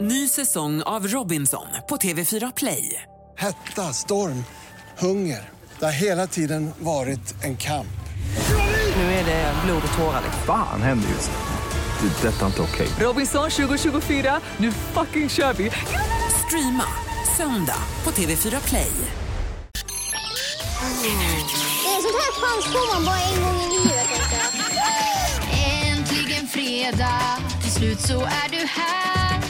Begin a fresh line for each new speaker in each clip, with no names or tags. Ny säsong av Robinson på TV4 Play.
Hetta, storm, hunger. Det har hela tiden varit en kamp.
Nu är det blod och tårar.
Fan händer just nu. Det. är Detta är inte okej.
Robinson 2024, nu fucking kör vi! Streama söndag på TV4 Play.
En sån här chans får man bara en gång i livet.
Äntligen fredag, till slut så är du här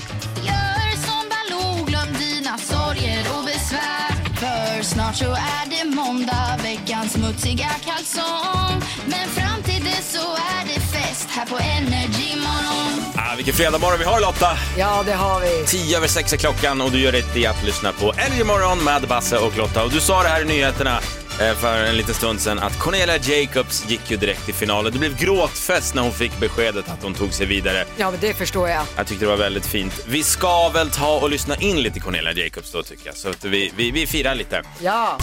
Gör som Baloo, glöm dina sorger och besvär För snart så är det måndag, veckans smutsiga kalsong Men fram till dess så är det fest här på Energy Morgon
Ah, vilken fredagmorgon vi har Lotta!
Ja, det har vi.
10 över 6 är klockan och du gör rätt i att lyssna på Älgmorgon med Basse och Lotta. Och du sa det här i nyheterna eh, för en liten stund sedan att Cornelia Jacobs gick ju direkt till finalen. Det blev gråtfest när hon fick beskedet att hon tog sig vidare.
Ja, men det förstår jag.
Jag tyckte det var väldigt fint. Vi ska väl ta och lyssna in lite Cornelia Jacobs då tycker jag. Så att vi, vi, vi firar lite.
Ja.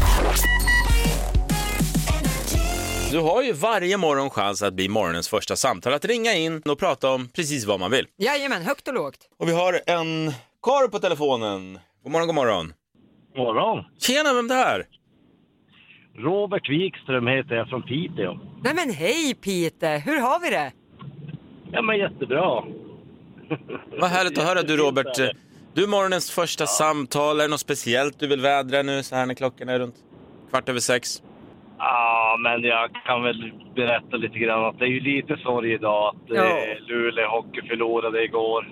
Du har ju varje morgon chans att bli morgonens första samtal. Att ringa in och prata om precis vad man vill.
Jajamän, högt och lågt.
Och vi har en karl på telefonen. God morgon, god morgon.
morgon.
Tjena, vem där?
Robert Wikström heter jag från Piteå.
Nej men hej Peter, hur har vi det?
Ja men jättebra.
Vad härligt att höra du Robert. eh, Du är morgonens första samtal. Är det något speciellt du vill vädra nu så här när klockan är runt kvart över sex?
Ja men jag kan väl berätta lite grann att det är ju lite sorg idag att
Ja.
eh, Luleå Hockey förlorade igår.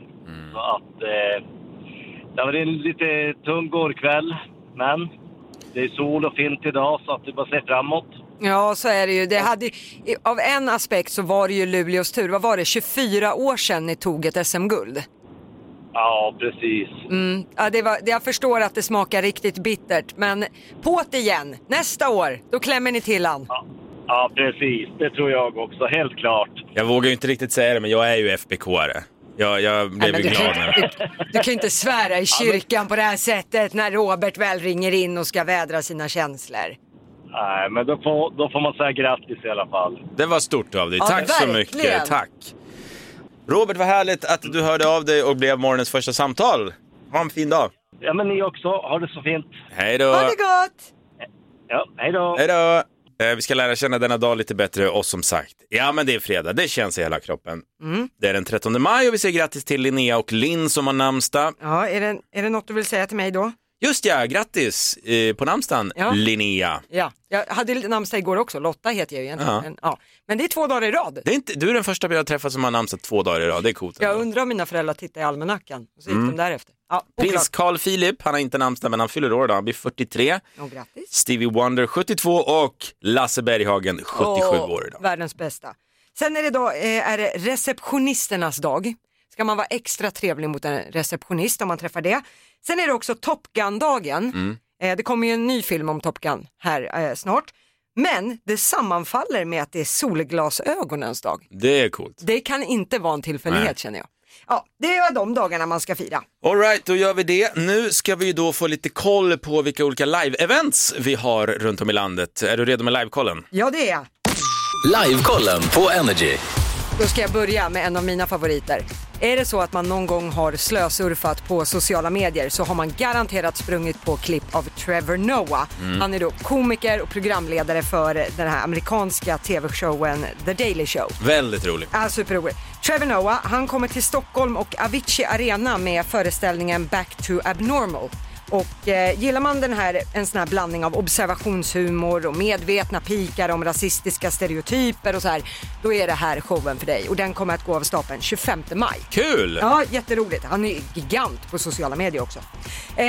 Så att eh, det var en lite tung gårkväll. Men det är sol och fint idag så att vi bara ser framåt.
Ja, så är det ju. Det hade, i- av en aspekt så var det ju Luleås tur. Vad var det, 24 år sedan ni tog ett SM-guld?
Ja precis.
Mm. Ja, det var, det- jag förstår att det smakar riktigt bittert, men på't igen. Nästa år, då klämmer ni till han.
Ja precis, det tror jag också. Helt klart.
Jag vågar ju inte riktigt säga det, men jag är ju FBK-are. Jag, jag blev
men
ju
du, kan,
glad nu.
du, du kan inte svära i kyrkan på det här sättet när Robert väl ringer in och ska vädra sina känslor.
Nej men då får, då får man säga grattis i alla fall.
Det var stort av dig.
Ja,
Tack så
verkligen.
mycket. Tack. Robert, vad härligt att du hörde av dig och blev morgonens första samtal. Ha en fin dag.
Ja men ni också, ha det så fint.
Hej då.
Ha det gott!
Ja, hej då.
Hej då. Eh, Vi ska lära känna denna dag lite bättre och som sagt, ja men det är fredag, det känns i hela kroppen.
Mm.
Det är den 13 maj och vi säger grattis till Linnea och Linn som har namnsdag.
Ja, är det, är det något du vill säga till mig då?
Just ja, grattis eh, på namnsdagen
Ja.
Linnea.
Ja, jag hade lite namnsdag igår också. Lotta heter jag ju egentligen.
Ja.
Men, ja. men det är två dagar i rad.
Det är inte, du är den första jag har träffat som har namnsdag två dagar i rad, det är coolt.
Jag
ändå.
undrar om mina föräldrar tittar i almanackan och så gick de därefter. Ja,
Mm. Prins
oklart.
Carl Philip, han har inte namnsdag men han fyller år idag, han blir 43.
Och grattis.
Stevie Wonder 72 och Lasse Berghagen 77
Och
år idag.
Världens bästa. Sen är det, då, eh, är det receptionisternas dag. Ska man vara extra trevlig mot en receptionist om man träffar det. Sen är det också Top Gun-dagen.
Mm.
Eh, det kommer ju en ny film om Top Gun här eh, snart. Men det sammanfaller med att det är solglasögonens dag.
Det är coolt.
Det kan inte vara en tillfällighet känner jag. Ja, det är de dagarna man ska fira.
Alright, då gör vi det. Nu ska vi ju då få lite koll på vilka olika live-events vi har runt om i landet. Är du redo med live-kollen?
Ja, det är jag.
Livekollen på Energy.
Då ska jag börja med en av mina favoriter. Är det så att man någon gång har slösurfat på sociala medier så har man garanterat sprungit på klipp av Trevor Noah. Han är då komiker och programledare för den här amerikanska tv-showen The Daily Show.
Väldigt rolig.
Ja, superroligt. Trevor Noah, han kommer till Stockholm och Avicii Arena med föreställningen Back to Abnormal. Och eh, gillar man den här, en sån här blandning av observationshumor och medvetna pikar om rasistiska stereotyper och så här, då är det här showen för dig. Och den kommer att gå av stapeln 25 maj.
Kul!
Ja, jätteroligt. Han är gigant på sociala medier också. Eh,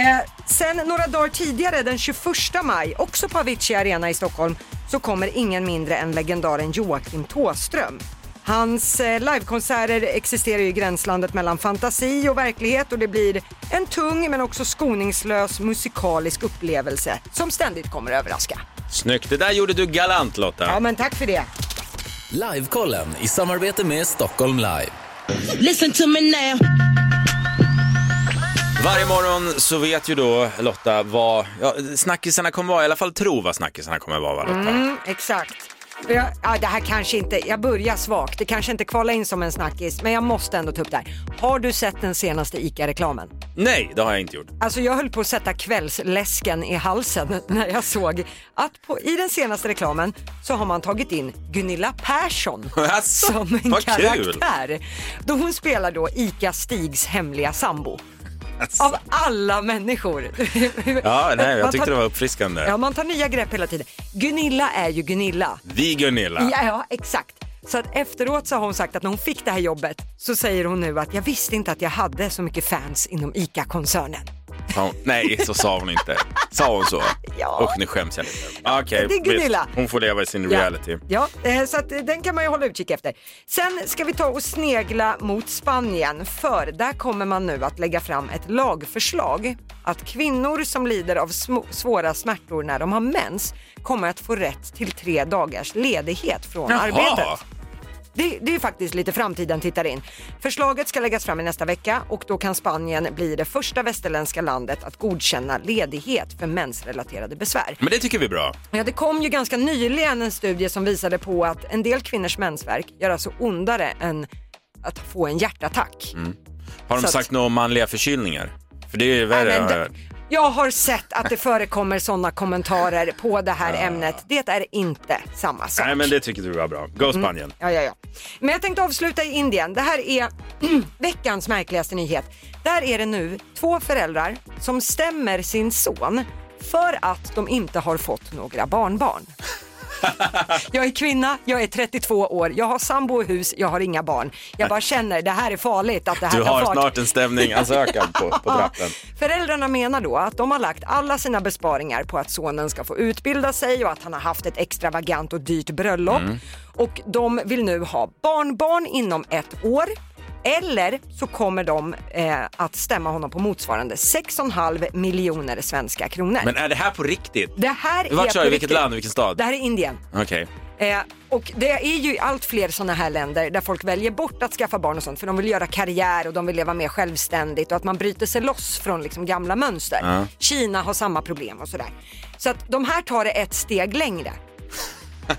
sen några dagar tidigare, den 21 maj, också på Avicii Arena i Stockholm, så kommer ingen mindre än legendaren Joakim Tåström. Hans eh, livekonserter existerar ju i gränslandet mellan fantasi och verklighet och det blir en tung men också skoningslös musikalisk upplevelse som ständigt kommer att överraska.
Snyggt, det där gjorde du galant Lotta.
Ja, men tack för det.
Livekollen i samarbete med Stockholm Live.
Listen to me now.
Varje morgon så vet ju då
Mm.
Lotta vad ja, snackisarna kommer vara, i alla fall tro vad snackisarna kommer vara va, Lotta.
Exakt. Jag, ja, det här kanske inte, jag börjar svagt, det kanske inte kvalar in som en snackis, men jag måste ändå ta upp det här. Har du sett den senaste ICA-reklamen?
Nej, det har jag inte gjort.
Alltså jag höll på att sätta kvällsläsken i halsen när jag såg att på, i den senaste reklamen så har man tagit in Gunilla Persson
Jaså,
som en
vad kul.
karaktär. Då hon spelar då ICA Stigs hemliga sambo.
Jaså.
Av alla människor.
Ja, nej, jag
Man
tyckte
tar-
det var uppfriskande.
Ja, man tar nya grepp hela tiden. Gunilla är ju Gunilla.
Vi Gunilla.
Ja, ja, exakt. Så att efteråt så har hon sagt att när hon fick det här jobbet så säger hon nu att jag visste inte att jag hade så mycket fans inom ICA-koncernen.
Sa hon- Nej, så sa hon inte. Sa hon så?
Ja.
Usch, nu skäms jag lite. Okej,
Det är Gunilla.
visst. Hon får leva i sin reality.
Ja, ja eh, så att eh, den kan man ju hålla utkik efter. Sen ska vi ta och snegla mot Spanien för där kommer man nu att lägga fram ett lagförslag att kvinnor som lider av sm- svåra smärtor när de har mens kommer att få rätt till tre dagars ledighet från arbetet. Det, det är faktiskt lite framtiden tittar in. Förslaget ska läggas fram i nästa vecka och då kan Spanien bli det första västerländska landet att godkänna ledighet för mensrelaterade besvär.
Men det tycker vi är bra.
Ja, det kom ju ganska nyligen en studie som visade på att en del kvinnors mensvärk gör alltså ondare än att få en hjärtattack.
Mm, Har de
Så att-
sagt något om manliga förkylningar? För det är ju värre.
Nej, men
har jag
det-
hört.
jag har sett att det förekommer sådana kommentarer på det här ämnet. Det är inte samma sak.
Ah. Nej, men det tycker du var bra. Go
Mm.
Spanien.
Ja, ja, ja. Men jag tänkte avsluta i Indien. Det här är veckans märkligaste nyhet. Där är det nu två föräldrar som stämmer sin son för att de inte har fått några barnbarn. Jag är kvinna, jag är 32 år, jag har sambo och hus, jag har inga barn. Jag bara känner, det här är farligt att det här
Du
tar
har
fart.
snart en stämningansökan på, på trappen.
Föräldrarna menar då att de har lagt alla sina besparingar på att sonen ska få utbilda sig och att han har haft ett extravagant och dyrt bröllop.
Mm.
Och de vill nu ha barnbarn inom ett år. Eller så kommer de eh, att stämma honom på motsvarande 6,5 miljoner svenska kronor.
Men är det här på riktigt?
det här
Vart
är
kör
på
vi? Vilket
riktigt.
land? Vilken stad?
Det här är Indien.
Okej.
Eh, och det är ju allt fler sådana här länder där folk väljer bort att skaffa barn och sånt för de vill göra karriär och de vill leva mer självständigt och att man bryter sig loss från liksom gamla mönster. Kina har samma problem och sådär. Så att de här tar det ett steg längre.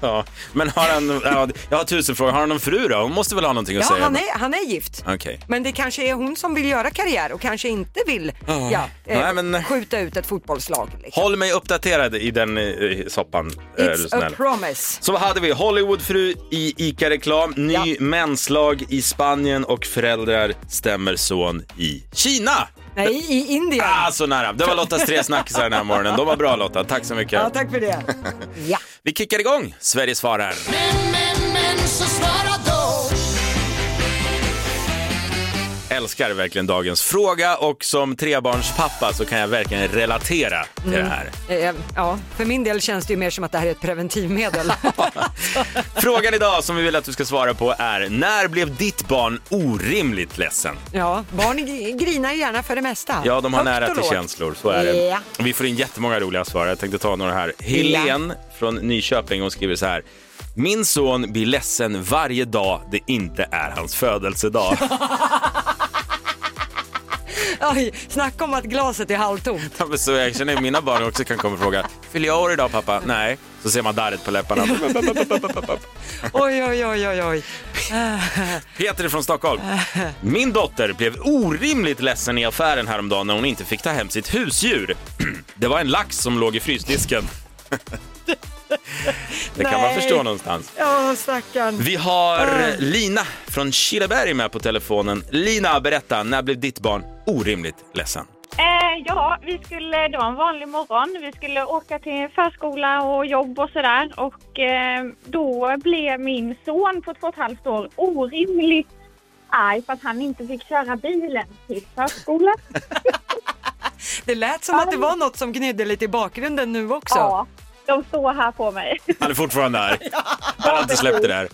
Ja. Men har han... Ja, jag har tusen frågor. Har han någon fru då? Hon måste väl ha någonting att
Ja,
säga?
han är, han är gift.
Okej.
Men det kanske är hon som vill göra karriär och kanske inte vill
Ja.
ja, eh,
Nej, men-
skjuta ut ett fotbollslag. Liksom.
Håll mig uppdaterad i den eh, soppan. eh, är du
It's a
snäll.
promise.
Så vad hade vi? Hollywoodfru i ICA-reklam, ny
Ja.
menslag i Spanien och föräldrar stämmer son i Kina.
Nej, i Indien.
Ah, så nära. Det var Lottas tre snackisar den här morgonen. De var bra Lotta, tack så mycket.
Ja, tack för det. ja.
Vi kickar igång Sverige svarar.
Men, men, men så svara då
Älskar verkligen dagens fråga och som trebarnspappa så kan jag verkligen relatera till det här.
Eh, ja, för min del känns det ju mer som att det här är ett preventivmedel.
Frågan idag som vi vill att du ska svara på är när blev ditt barn orimligt ledsen?
Ja, barn gr- grinar ju gärna för det mesta.
Ja, de har
Högt
nära
och
till
lågt.
känslor. Så är det.
Ja.
Vi får in jättemånga roliga svar. Jag tänkte ta några här. Helen från Nyköping hon skriver så här. Min son blir ledsen varje dag det inte är hans födelsedag.
Oj, snacka om att glaset är halvtomt.
Ja, men så jag känner att mina barn också kan komma och fråga, fyller jag år idag pappa? Nej. Så ser man darret på läpparna.
Oj, oj, oj, oj, oj.
Peter från Stockholm. Min dotter blev orimligt ledsen i affären häromdagen när hon inte fick ta hem sitt husdjur. Det var en lax som låg i frysdisken. Det kan man
Nej.
förstå någonstans.
Ja, stackarn.
Vi har Lina från Kileberg med på telefonen. Lina, berätta, när blev ditt barn orimligt ledsen?
Eh, ja, vi skulle, det var en vanlig morgon. Vi skulle åka till förskola och jobb och sådär. Och eh, då blev min son på två och ett halvt år orimligt arg för att han inte fick köra bilen till förskolan.
Det lät som att det var något som gnydde lite i bakgrunden nu också.
Ja, de står här på mig.
Han är fortfarande där. Han har inte släppt det där.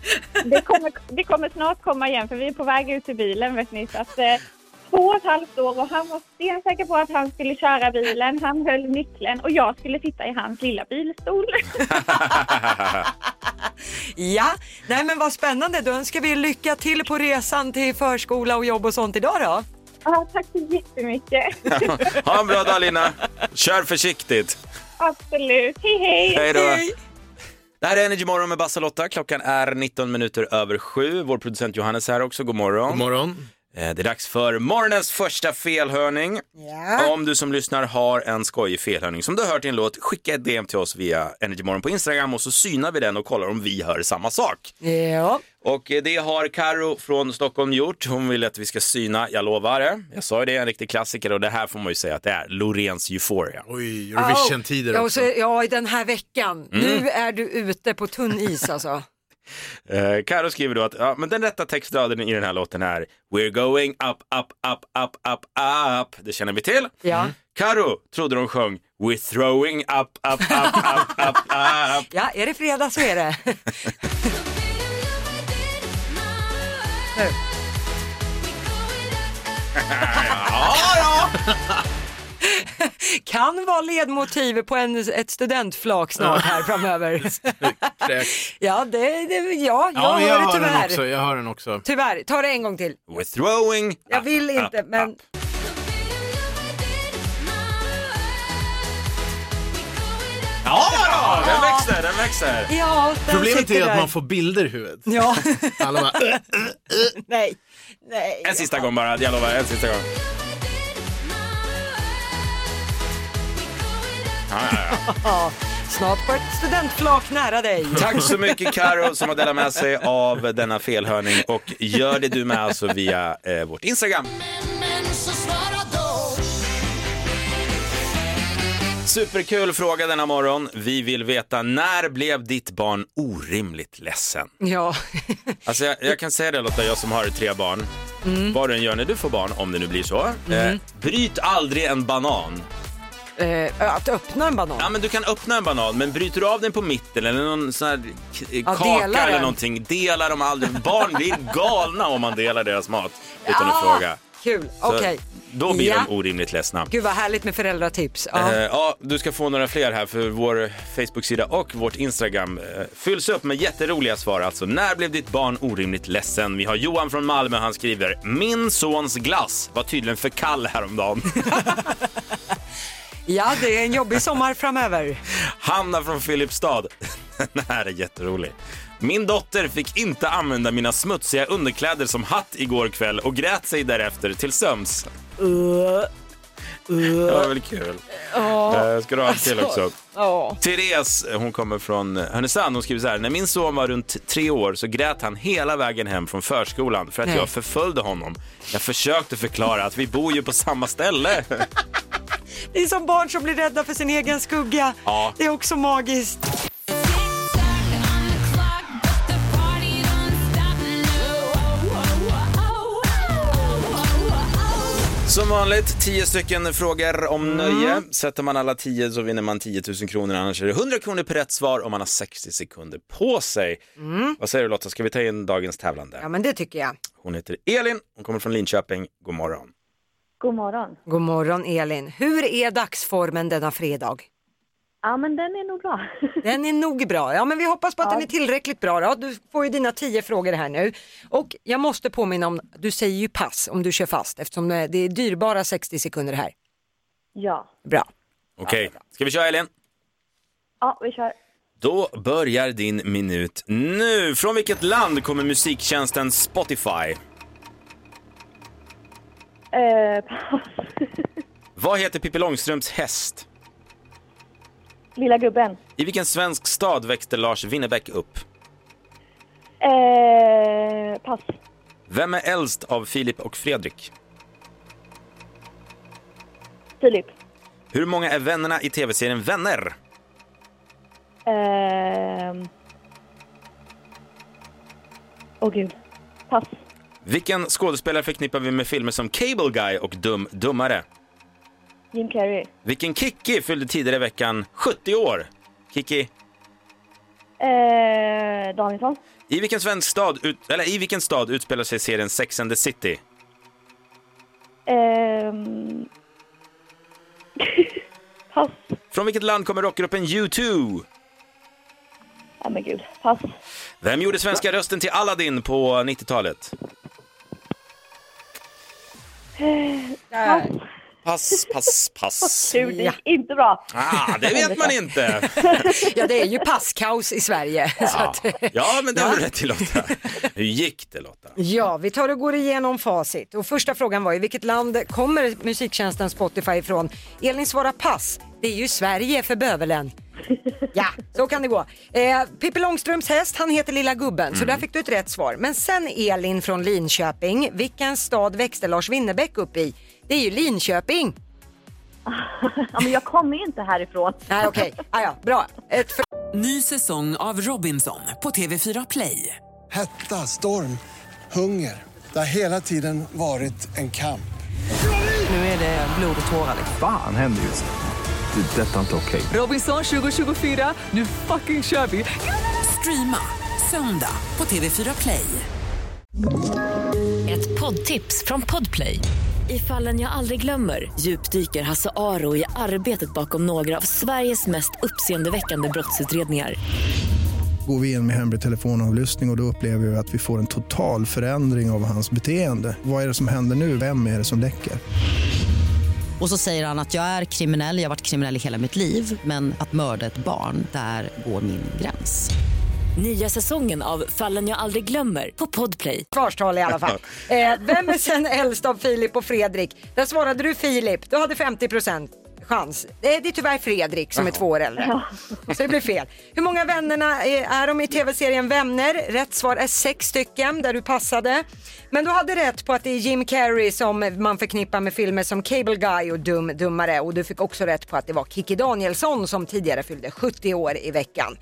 Det kommer, det kommer snart komma igen för vi är på väg ut till bilen vet ni. Så att, eh, två och ett halvt år och han var stensäker på att han skulle köra bilen. Han höll nyckeln och jag skulle sitta i hans lilla bilstol.
Ja, nej men vad spännande. Då önskar vi lycka till på resan till förskola och jobb och sånt idag då.
Ja, tack så jättemycket.
Ha en bra dag Lina. Kör försiktigt.
Absolut. Hej, hej!
Hej då. Det här är Energy Morgon med Bassa Lotta. Klockan är 19 minuter över sju. Vår producent Johannes är här också. God morgon. God
morgon.
Det är dags för morgonens första felhörning. Om du som lyssnar har en skojig felhörning som du har hört i en låt, skicka ett DM till oss via Energy Morgon på Instagram och så synar vi den och kollar om vi hör samma sak.
Ja.
Och eh, det har Karo från Stockholm gjort. Hon vill att vi ska syna, jag lovar det. Jag sa ju det, en riktig klassiker och det här får man ju säga att det är Loreens Euphoria.
Oj,
Ja, och så- Ja, i den här veckan.
Mm.
Nu är du ute på tunn is alltså.
Eh, Karo skriver då att ja, men den rätta textraden i den här låten är We're going up, up, up, up, up, up. Det känner vi till.
Ja.
Karo trodde de sjöng We're throwing up, up, up, up, up, up.
Ja, är det fredag så är det. nu.
ja, ja.
Kan vara ledmotiv på en, ett studentflak snart här framöver. ja, det, det, ja, jag
Ja, men
hör
jag
det
har den
tyvärr.
också. Jag har den också.
Tyvärr, ta det en gång till.
We're throwing
Jag vill inte, men
Ja, ja, den växer, den växer.
ja, den
Problemet
sitter
är
där.
att man får bilder i huvudet.
Ja.
Alla bara,
Nej, nej.
En sista gång bara, jag lovar, en sista gång. Ja, ja, ja.
Ja, snart på ett studentflak nära dig.
Tack så mycket Karo som har delat med sig av denna felhörning och gör det du med alltså via eh, vårt Instagram. Superkul fråga denna morgon. Vi vill veta när blev ditt barn orimligt ledsen?
Ja,
Alltså jag, jag kan säga det Lotta, jag som har tre barn.
Mm.
Vad du än gör när du får barn, om det nu blir så. Eh, bryt aldrig en banan.
eh, att öppna en banan.
Ja, men du kan öppna en banan, men bryter du av den på mitten eller någon sån här k- eh,
Ja,
kaka
dela
eller
den.
någonting, dela dem aldrig. Barn blir galna om man delar deras mat utan att
Ja,
fråga.
Ah, Kul,
Så
okej.
Då blir
ja.
de orimligt ledsna.
Gud vad härligt med föräldratips. Ja.
Eh, ja, du ska få några fler här för vår Facebook-sida och vårt Instagram eh, fylls upp med jätteroliga svar. Alltså, när blev ditt barn orimligt ledsen? Vi har Johan från Malmö, han skriver “Min sons glass var tydligen för kall häromdagen”.
ja, det är en jobbig sommar framöver.
Hanna från Filipstad. Den här är jätterolig. Min dotter fick inte använda mina smutsiga underkläder som hatt igår kväll och grät sig därefter till söms.
Uh,
Det
uh.
var väl kul.
Ja.
Eh, Ska du ha en till
Alltså,
också?
Ja.
Therese, hon kommer från Härnösand, hon skriver så här. När min son var runt tre år så grät han hela vägen hem från förskolan för att
Nej.
jag förföljde honom. Jag försökte förklara att vi bor ju på samma ställe.
Det är som barn som blir rädda för sin egen skugga.
Ja.
Det är också magiskt.
Som vanligt, tio stycken frågor om nöje. Sätter man alla tio så vinner man 10 000 kronor, annars är det 100 kronor per rätt svar och man har 60 sekunder på sig. Vad säger du Lotta, ska vi ta in dagens tävlande?
Ja, men det tycker jag.
Hon heter Elin, hon kommer från Linköping. God morgon.
God morgon.
God morgon Elin. Hur är dagsformen denna fredag?
Ja, men den är nog bra.
Den är nog bra. Ja, men vi hoppas på att den är tillräckligt bra. Då. Du får ju dina tio frågor här nu. Och jag måste påminna om, du säger ju pass om du kör fast eftersom eh, det är dyrbara 60 sekunder här.
Ja,
Bra.
Okej, ska vi köra Elin?
ja vi kör.
Då börjar din minut nu. Från vilket land kommer musiktjänsten Spotify?
Eh, pass.
Vad heter Pippi Långstrumps häst?
Lilla gubben.
I vilken svensk stad växte Lars Winnerbäck upp?
Eh, pass.
Vem är äldst av Filip och Fredrik?
Filip.
Hur många är vännerna i tv-serien Vänner?
Eh, Åh gud. Pass.
Vilken skådespelare förknippar vi med filmer som Cable Guy och Dum Dummare?
Jim Carrey.
Vilken Kikki fyllde tidigare i veckan 70 år? Kikki,
Eh, Danielsson.
i vilken svensk stad, ut, eller i vilken stad utspelar sig serien Sex and the City?
Eh, pass.
Från vilket land kommer rockgruppen U2?
Ja, men gud. Pass.
Vem gjorde svenska rösten till Aladdin på 90-talet?
Eh, pass.
Pass, pass, pass.
Tur, det gick inte bra.
Ah, det vet man inte.
ja, det är ju passkaos i Sverige. Så
Ja,
att,
ja men det har du rätt i Lotta. Hur gick det Lotta?
ja, vi tar och går igenom facit. Och första frågan var ju vilket land kommer musiktjänsten Spotify ifrån? Elin svarar pass. Det är ju Sverige för bövelen. Ja, så kan det gå. Eh, Pippi Långstrumps häst, han heter Lilla Gubben, så där fick du ett rätt svar. Men sen Elin från Linköping, vilken stad växte Lars Winnerbäck upp i? Det är ju Linköping.
Ja, men jag kommer ju inte härifrån.
Nej, okej. Ah, ja, bra. Ett för...
Ny säsong av Robinson på TV4 Play.
Hetta, storm, hunger. Det har hela tiden varit en kamp.
Nu är det blod och tårar.
Fan händer just det. Det är detta inte okej.
Robinson 2024, nu fucking kör vi! Streama söndag på TV4 Play.
Ett poddtips från Podplay. I fallen jag aldrig glömmer djupdyker Hasse Aro i arbetet bakom några av Sveriges mest uppseendeväckande brottsutredningar.
Går vi in med hemlig telefonavlyssning och, och då upplever vi att vi får en total förändring av hans beteende. Vad är det som händer nu? Vem är det som läcker?
Och så säger han att jag är kriminell, jag har varit kriminell i hela mitt liv men att mörda ett barn, där går min gräns.
Nya säsongen av Fallen jag aldrig glömmer på Podplay.
Kvartal i alla fall. Eh, vem är sen äldst av Filip och Fredrik? Där svarade du Filip, du hade 50 chans. Eh, Det är tyvärr Fredrik som är två år äldre. Så det blir fel. Hur många vännerna är, är de i tv-serien Vänner? Rätt svar är sex stycken där du passade. Men du hade rätt på att det är Jim Carrey som man förknippar med filmer som Cable Guy och Dum Dummare och du fick också rätt på att det var Kikki Danielsson som tidigare fyllde 70 år i veckan.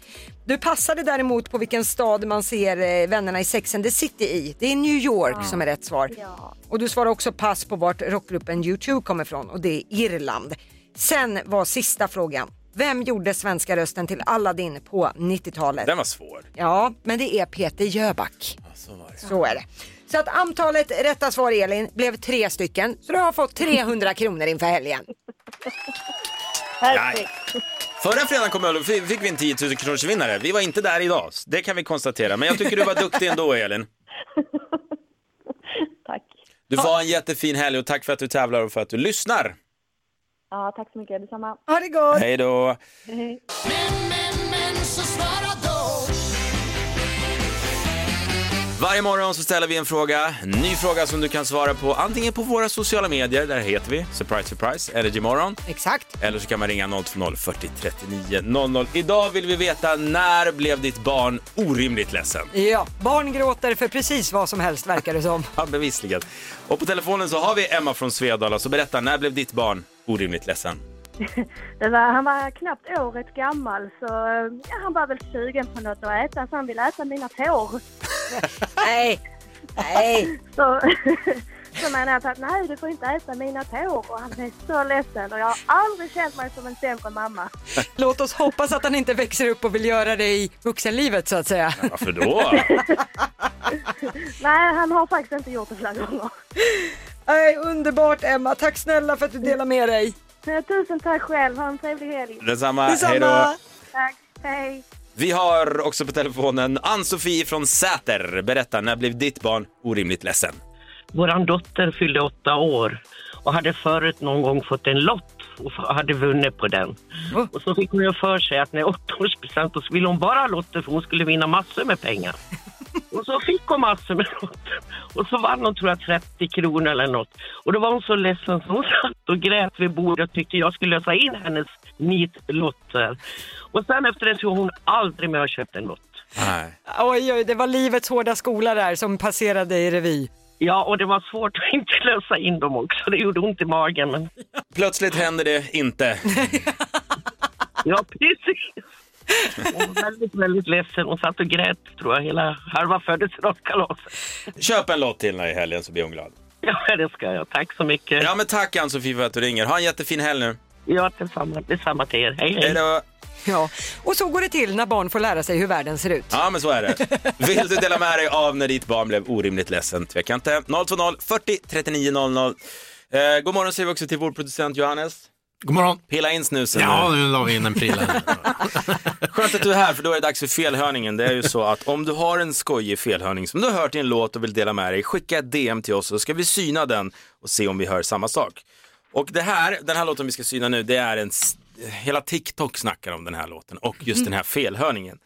Du passade däremot på vilken stad man ser eh, vännerna i Sex and the City i. Det är New York
Ja.
som är rätt svar.
Ja.
Och du svarar också pass på vart rockgruppen U2 kommer ifrån och det är Irland. Sen var sista frågan. Vem gjorde svenska rösten till Aladdin på 90-talet?
Den var svår.
Ja, men det är Peter Jöback. Så är det. Så att antalet rätta svar Elin blev tre stycken, så du har fått 300 kronor inför helgen.
Förra fredagen kom jag, fi- fick vi en 10 000 kronors vinnare. Vi var inte där idag, så det kan vi konstatera. Men jag tycker du var duktig ändå, Elin. Tack. Du var en jättefin helg och tack för att du tävlar och för att du lyssnar.
Ja, tack så mycket. Detsamma.
Ha det gott!
Hej då!
Hej.
Varje morgon så ställer vi en fråga, en ny fråga som du kan svara på antingen på våra sociala medier, där heter vi surprise surprise, Energymorgon.
Exakt.
Eller så kan man ringa 020-40 39 00. Idag vill vi veta när blev ditt barn orimligt ledsen?
Ja, barn gråter för precis vad som helst verkar det som.
Ja, bevisligen. Och på telefonen så har vi Emma från Svedala, så berätta, när blev ditt barn orimligt ledsen?
Det var, han var knappt året gammal så eh, ja, han var väl sugen på något att äta så han ville äta mina tår.
nej, nej.
Så, så menade jag på att nej du får inte äta mina tår och han blev så ledsen och jag har aldrig känt mig som en sämre mamma.
Låt oss hoppas att han inte växer upp och vill göra det i vuxenlivet så att säga.
Varför då?
Nej han har faktiskt inte gjort det flera gånger.
Nej, underbart Emma, tack snälla för att du delar med dig.
Eh, Tusen tack själv, ha en trevlig helg.
Detsamma, Detsamma. hej då.
Tack, hej.
Vi har också på telefonen Ann-Sofie från Säter. Berätta, när blev ditt barn orimligt ledsen?
Vår dotter fyllde åtta år och hade förut någon gång fått en lott och f- hade vunnit på den. Och så fick hon ju för sig att när åttaårspresent så ville hon bara ha lotter för hon skulle vinna massor med pengar. Och så fick hon massor med lotter. Och så vann hon tror jag 30 kronor eller något. Och då var hon så ledsen så hon satt och grät vid bordet och tyckte jag skulle lösa in hennes nitlotter. Och sen efter det tror jag hon aldrig mer har köpt en lott.
Nej.
Oj, oj, det var livets hårda skola där som passerade i revy.
Ja, och det var svårt att inte lösa in dem också. Det gjorde ont i magen. Men...
Plötsligt händer det inte.
Ja, precis. Hon var väldigt, väldigt ledsen. Hon satt och grät tror jag hela halva födelsedagskalaset.
Köp en lott till henne i helgen så blir hon glad.
Ja, det ska jag. Tack så mycket.
Ja, men tack Ann-Sofie för att du ringer. Ha en jättefin helg nu.
Ja, detsamma, detsamma till er. Hej, hej.
Hej då.
Ja, och så går det till när barn får lära sig hur världen ser ut.
Ja, men så är det. Vill du dela med dig av när ditt barn blev orimligt ledsen? Tveka inte. 020 40 39 00. Eh, god morgon säger vi också till vår producent Johannes.
God morgon.
Pilla in snusen
Ja, nu la vi in en prilla.
Skönt att du är här för då är det dags för felhörningen. Det är ju så att om du har en skojig felhörning som du har hört i en låt och vill dela med dig, skicka ett DM till oss så ska vi syna den och se om vi hör samma sak. Och det här, den här låten vi ska syna nu, det är en... s- Hela TikTok snackar om den här låten och just den här felhörningen.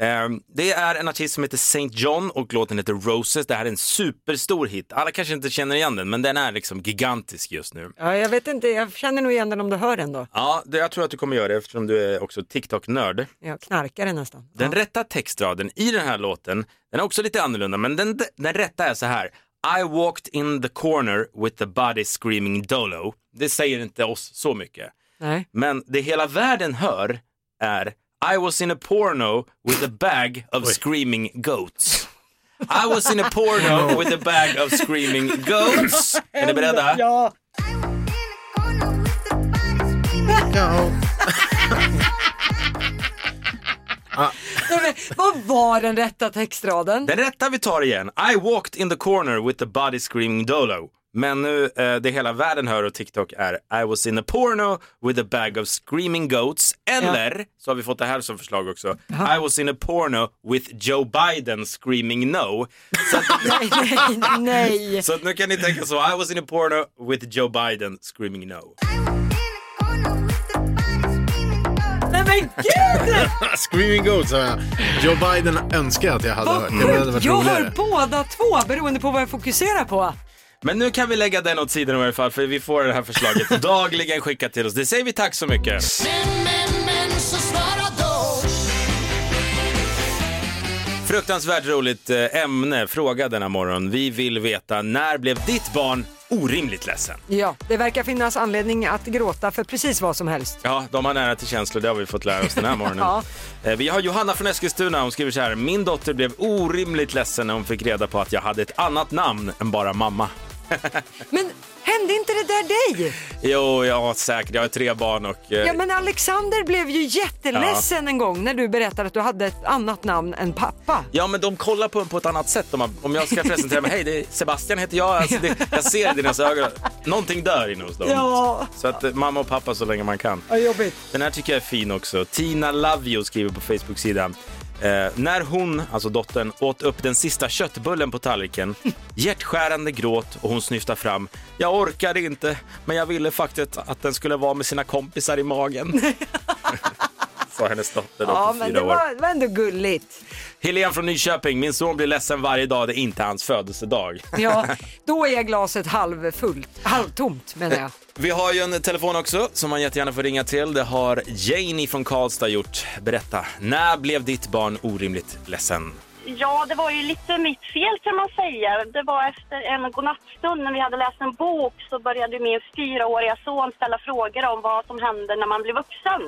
Ehm, Det är en artist som heter St. John och låten heter Roses. Det här är en superstor hit. Alla kanske inte känner igen den, men den är liksom gigantisk just nu.
Ja, jag vet inte, jag känner nog igen den om du hör den då.
Ja, det, jag tror att du kommer göra det eftersom du är också TikTok-nörd.
Jag knarkar den nästan.
Den rätta textraden i den här låten, den är också lite annorlunda, men den, den rätta är så här. I walked in the corner with the body screaming dolo. Det säger inte oss så mycket.
Nej.
Men det hela världen hör är I was in a porno with a bag of screaming goats. I was in a porno with a bag of screaming goats. Är ni beredda?
Ja. Nej, men, vad var den rätta textraden?
Den rätta vi tar igen. I walked in the corner with the body screaming dolo. Men nu, eh, det hela världen hör och TikTok är I was in a porno with a bag of screaming goats. Eller, så har vi fått det här som förslag också, I was in a porno with Joe Biden screaming no. Så
nej, nej, nej.
Så att nu kan ni tänka så, I was in a porno with Joe Biden screaming no.
Nej men gud!
Screaming Goats sa jag. Joe Biden önskar jag att jag hade hört. Det hade varit
Jag hör
roligare.
båda två beroende på vad jag fokuserar på.
Men nu kan vi lägga den åt sidan i varje fall för vi får det här förslaget dagligen skickat till oss. Det säger vi tack så mycket.
Men, men, så svara då.
Fruktansvärt roligt eh, ämne, fråga denna morgon. Vi vill veta, när blev ditt barn orimligt ledsen?
Ja, det verkar finnas anledning att gråta för precis vad som helst.
Ja, de har nära till känslor, det har vi fått lära oss den här morgonen.
Ja.
Eh, Vi har Johanna från Eskilstuna, hon skriver så här. Min dotter blev orimligt ledsen när hon fick reda på att jag hade ett annat namn än bara mamma.
Hände inte det där dig?
Jo, ja säkert, jag har tre barn och... eh,
Ja men Alexander blev ju jätteledsen en gång när du berättade att du hade ett annat namn än pappa.
Ja, men de kollar på en på ett annat sätt. Om, man, om jag ska presentera mig, hej, det är Sebastian heter jag, alltså det, jag ser i dina ögon. Någonting dör inne hos dem.
Ja.
Så att eh, mamma och pappa så länge man kan.
Vad jobbigt.
Den här tycker jag är fin också. Tina Lavio skriver på Facebook-sidan. Eh, när hon, alltså dottern, åt upp den sista köttbullen på tallriken, hjärtskärande gråt och hon snyftar fram. Jag orkade inte, men jag ville faktiskt att den skulle vara med sina kompisar i magen. Sa hennes dotter då
Ja
på
men
fyra
det
år.
var, var ändå gulligt.
Helen från Nyköping, min son blir ledsen varje dag, det är inte hans födelsedag.
Ja, då är glaset halvfullt, halvtomt menar jag.
Vi har ju en telefon också som man jättegärna får ringa till. Det har Janie från Karlstad gjort. Berätta, när blev ditt barn orimligt ledsen?
Ja, det var ju lite mitt fel kan man säga. Det var efter en godnattstund när vi hade läst en bok så började min fyraåriga son ställa frågor om vad som händer när man blir vuxen.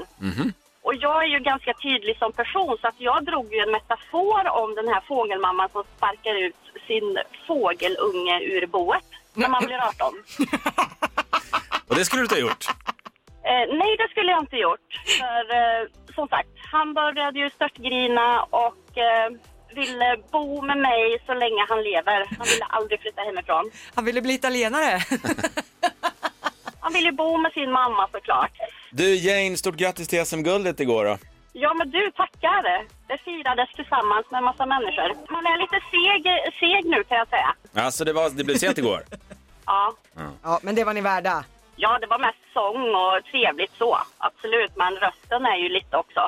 Och jag är ju ganska tydlig som person så att jag drog ju en metafor om den här fågelmamman som sparkar ut sin fågelunge ur boet när man blir 18.
Och det skulle du inte ha gjort.
Eh, nej, det skulle jag inte gjort. För eh, som sagt, han började ju störtgrina och eh, ville bo med mig så länge han lever. Han ville aldrig flytta hemifrån.
Han ville bli italienare.
Han ville bo med sin mamma såklart.
Du Jane, stort grattis till SM-guldet igår då.
Ja, men du tackar. Det firades tillsammans med en massa människor. Man är lite seg, seg nu kan jag säga.
Alltså det, var, det blev sent igår.
Ja.
Ja men det var ni värda.
ja, det var mest sång och trevligt så. Absolut, men rösten är ju lite också.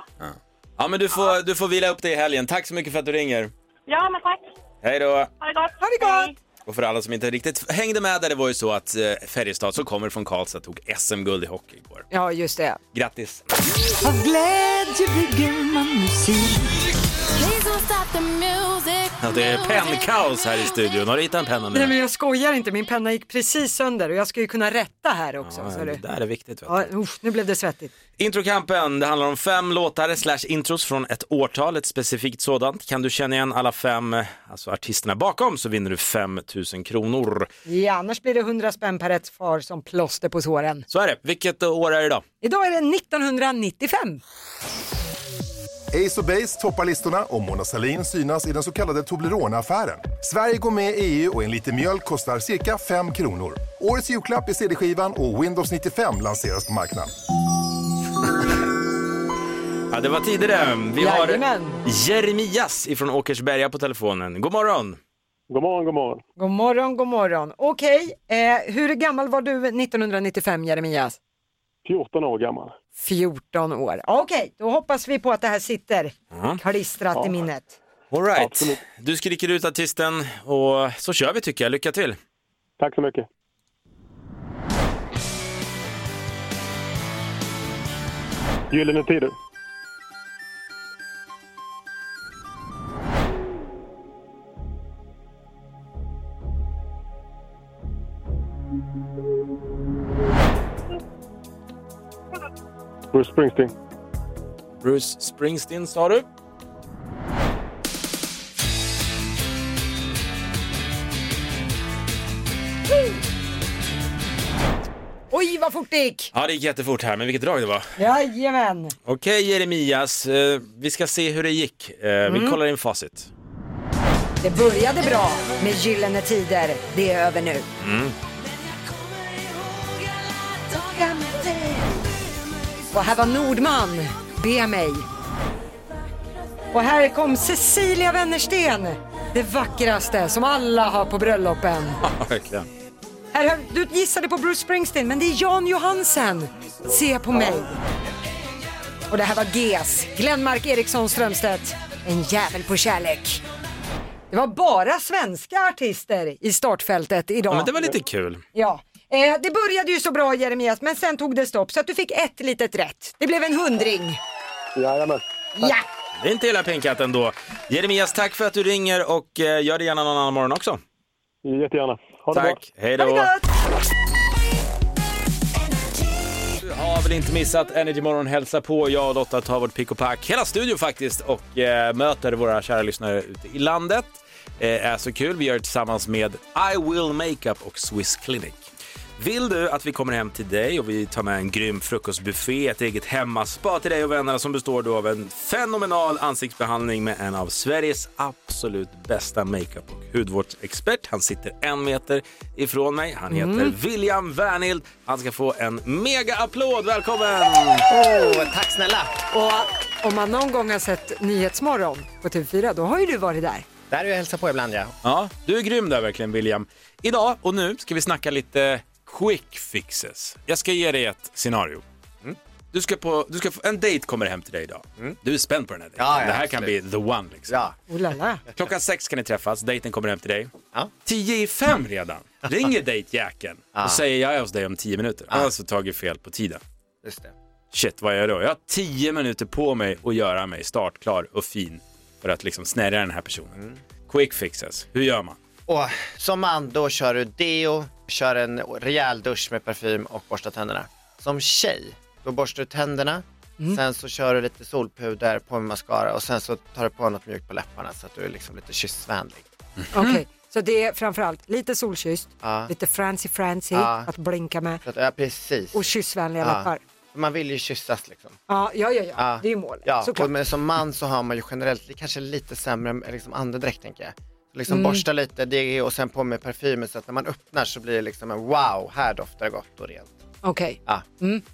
Ja men du får, du får vila upp dig i helgen. Tack så mycket för att du ringer.
Ja, men tack.
Hej då!
Ha det gott.
Ha det gott.
Och för alla som inte riktigt hängde med där, det var ju så att eh, Färjestad som kommer från Karlstad tog SM-guld i hockey igår.
Ja just det.
Grattis!
Av glädje bygger man musik.
Ja, Det är pennkaos här i studion. Har du hittat en penna nu?
Nej men jag skojar inte, min penna gick precis sönder och jag ska ju kunna rätta här också.
Ja,
så
det
du.
där är viktigt. Vet du.
Ja, usch, nu blev det svettigt.
Introkampen, det handlar om fem låtar slash intros från ett årtal, ett specifikt sådant. Kan du känna igen alla fem, eh, alltså artisterna bakom, så vinner du 5 000 kronor.
Ja, annars blir det 100 spänn per rätt svar som plåster på såren.
Så är det. Vilket år är det idag?
Idag är det 1995.
Ace och Base toppar listorna och Mona Sahlin synas i den så kallade Toblerone-affären. Sverige går med i EU och en liter mjölk kostar cirka 5 kronor. Årets julklapp är CD-skivan och Windows 95 lanseras på marknaden.
Ja, det var tidigare. Vi har
Jajamän.
Jeremias ifrån Åkersberga på telefonen. God morgon!
God morgon, god morgon.
God morgon, god morgon. Okej, eh, hur gammal var du 1995 Jeremias?
14 år gammal.
14 år. Okej, då hoppas vi på att det här sitter
Ja.
klistrat i minnet.
All right. Du skriker ut artisten och så kör vi tycker jag. Lycka till!
Tack så mycket. Gyllene Tider. Bruce Springsteen.
Bruce Springsteen sa du.
Oj, vad fort det gick!
Ja, det gick jättefort här, men vilket drag det var.
Jajamän!
Okej Jeremias, eh, vi ska se hur det gick. Eh, Vi
Mm.
kollar in facit.
Det började bra med Gyllene Tider. Det är över nu.
Mm.
Och här var Nordman, Be mig. Och här kom Cecilia Wennersten, det vackraste som alla har på bröllopen.
Ja, verkligen.
Här, hör- du gissade på Bruce Springsteen, men det är Jan Johansen, Se på mig. Och det här var GES, Glenmark Eriksson Strömstedt, En jävel på kärlek. Det var bara svenska artister i startfältet idag.
Ja, men det var lite kul.
Ja. Eh, det började ju så bra Jeremias, men sen tog det stopp så att du fick ett litet rätt. Det blev en hundring.
Jajamän.
Ja!
Det är inte hela pinkat ändå. Jeremias, tack för att du ringer och eh, gör det gärna någon annan morgon också.
Jättegärna. Ha det
Tack, hej då.
Ha det gott.
Du har väl inte missat Energy Morgon hälsa på. Jag och Lotta tar vårt pick och pack, hela studion faktiskt, och eh, möter våra kära lyssnare ute i landet. Eh, är så kul. Vi gör det tillsammans med I Will Makeup och Swiss Clinic. Vill du att vi kommer hem till dig och vi tar med en grym frukostbuffé, ett eget hemmaspa till dig och vännerna som består då av en fenomenal ansiktsbehandling med en av Sveriges absolut bästa makeup och hudvårdsexpert. Han sitter en meter ifrån mig. Han heter
Mm.
William Wernhild. Han ska få en mega applåd. Välkommen!
tack snälla! Och om man någon gång har sett Nyhetsmorgon på TV4, då har ju du varit där.
Där är jag hälsar på ibland ja.
Ja, du är grym där verkligen William. Idag och nu ska vi snacka lite quick fixes. Jag ska ge dig ett scenario. Du ska på, du ska få, en dejt kommer hem till dig idag. Du är spänd på den här dejten.
Ja, ja,
det här kan bli
absolut.
the one liksom.
Oh la la.
Klockan sex kan ni träffas, dejten kommer hem till dig. Tio i fem redan ringer dejtjäkeln
Ja.
och säger jag är hos dig om tio minuter. Jag har alltså tagit fel på tiden.
Ah. Just det.
Shit, vad gör jag då? Jag har tio minuter på mig att göra mig startklar och fin för att liksom snärja den här personen.
Mm.
Quick fixes, hur gör man?
Och som man då kör du deo, kör en rejäl dusch med parfym och borstar tänderna. Som tjej, då borstar du tänderna, sen så kör du lite solpuder på med mascara och sen så tar du på något mjukt på läpparna så att du är liksom lite kyssvänlig.
Okej, så det är framförallt lite solkysst,
Mm. Ja.
lite francy francy
Ja.
att blinka med
Så att, ja, precis.
och kyssvänliga
Ja.
läppar.
Man vill ju kyssas liksom.
Ja, ja, ja, ja. det är ju målet
Ja,
såklart.
och men som man så har man ju generellt kanske lite sämre liksom andedräkt tänker jag. Liksom
Mm.
borsta lite det och sen på med parfymen så att när man öppnar så blir det liksom en wow, här doftar det gott och rent.
Okej.
Ja.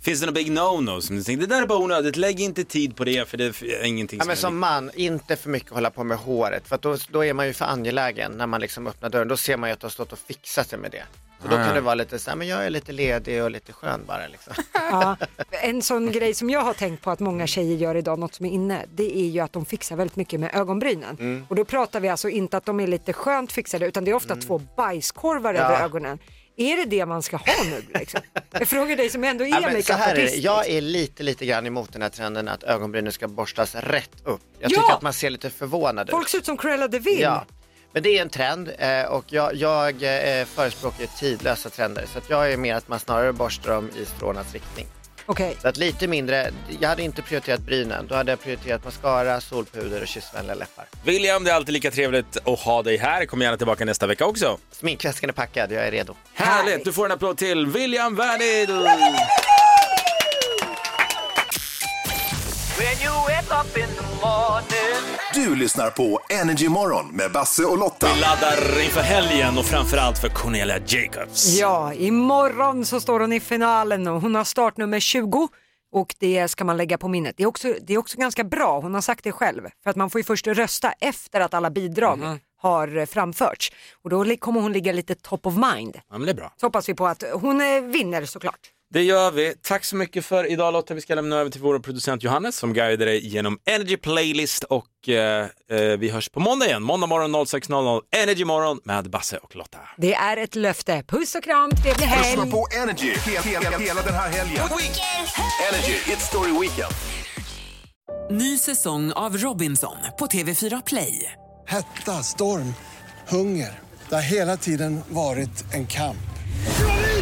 Finns det någon big no-no som du tänkte, det där är bara onödigt, lägg inte tid på det för det är ingenting
Ja, men
som
som man, inte för mycket hålla på med håret för att då, då är man ju för angelägen när man liksom öppnar dörren. Då ser man ju att du har stått och fixat sig med det. Så då
Ah.
kan det vara lite så här, men jag är lite ledig och lite skön bara liksom.
Ja. En sån grej som jag har tänkt på att många tjejer gör idag, något som är inne, det är ju att de fixar väldigt mycket med ögonbrynen.
Mm.
Och då pratar vi alltså inte att de är lite skönt fixade utan det är ofta två bajskorvar
Ja.
över ögonen. Är det det man ska ha nu liksom? Jag frågar dig som ändå är
Ja, men så här är det.
makeupartist.
Jag är lite, lite grann emot den här trenden att ögonbrynen ska borstas rätt upp. Jag
Ja!
tycker att man ser lite förvånad
Folk ser ut som Cruella de Vil.
Ja. Men det är en trend eh, och jag, jag eh, förespråkar ju tidlösa trender så att jag är mer att man snarare borstar dem i strånas riktning.
Okej.
Så att lite mindre, jag hade inte prioriterat brynen, då hade jag prioriterat mascara, solpuder och kyssvänliga läppar.
William, det är alltid lika trevligt att ha dig här. Kom gärna tillbaka nästa vecka också.
Sminkväskan är packad, jag är redo.
Härligt! Du får en applåd till William Wernhild!
Du lyssnar på Energy Morgon med Basse och Lotta.
Vi laddar inför helgen och framförallt för Cornelia Jacobs.
Ja, imorgon så står hon i finalen och hon har startnummer 20 och det ska man lägga på minnet. Det är också, det är också ganska bra, hon har sagt det själv, för att man får ju först rösta efter att alla bidrag har framförts. Och då li- kommer hon ligga lite top of mind.
Ja, men det är bra.
Så hoppas vi på att hon eh, vinner såklart.
Det gör vi. Tack så mycket för idag Lotta. Vi ska lämna över till vår producent Johannes som guidar dig genom Energy Playlist och eh, eh, vi hörs på måndag igen. Måndag morgon 06.00 Energy morgon med Basse och Lotta.
Det är ett löfte. Puss och kram, trevlig helg!
Lyssna på Energy hela, hela, hela den här helgen. Energy Hit Story Weekend.
Ny säsong av Robinson på TV4 Play.
Hetta, storm, hunger. Det har hela tiden varit en kamp.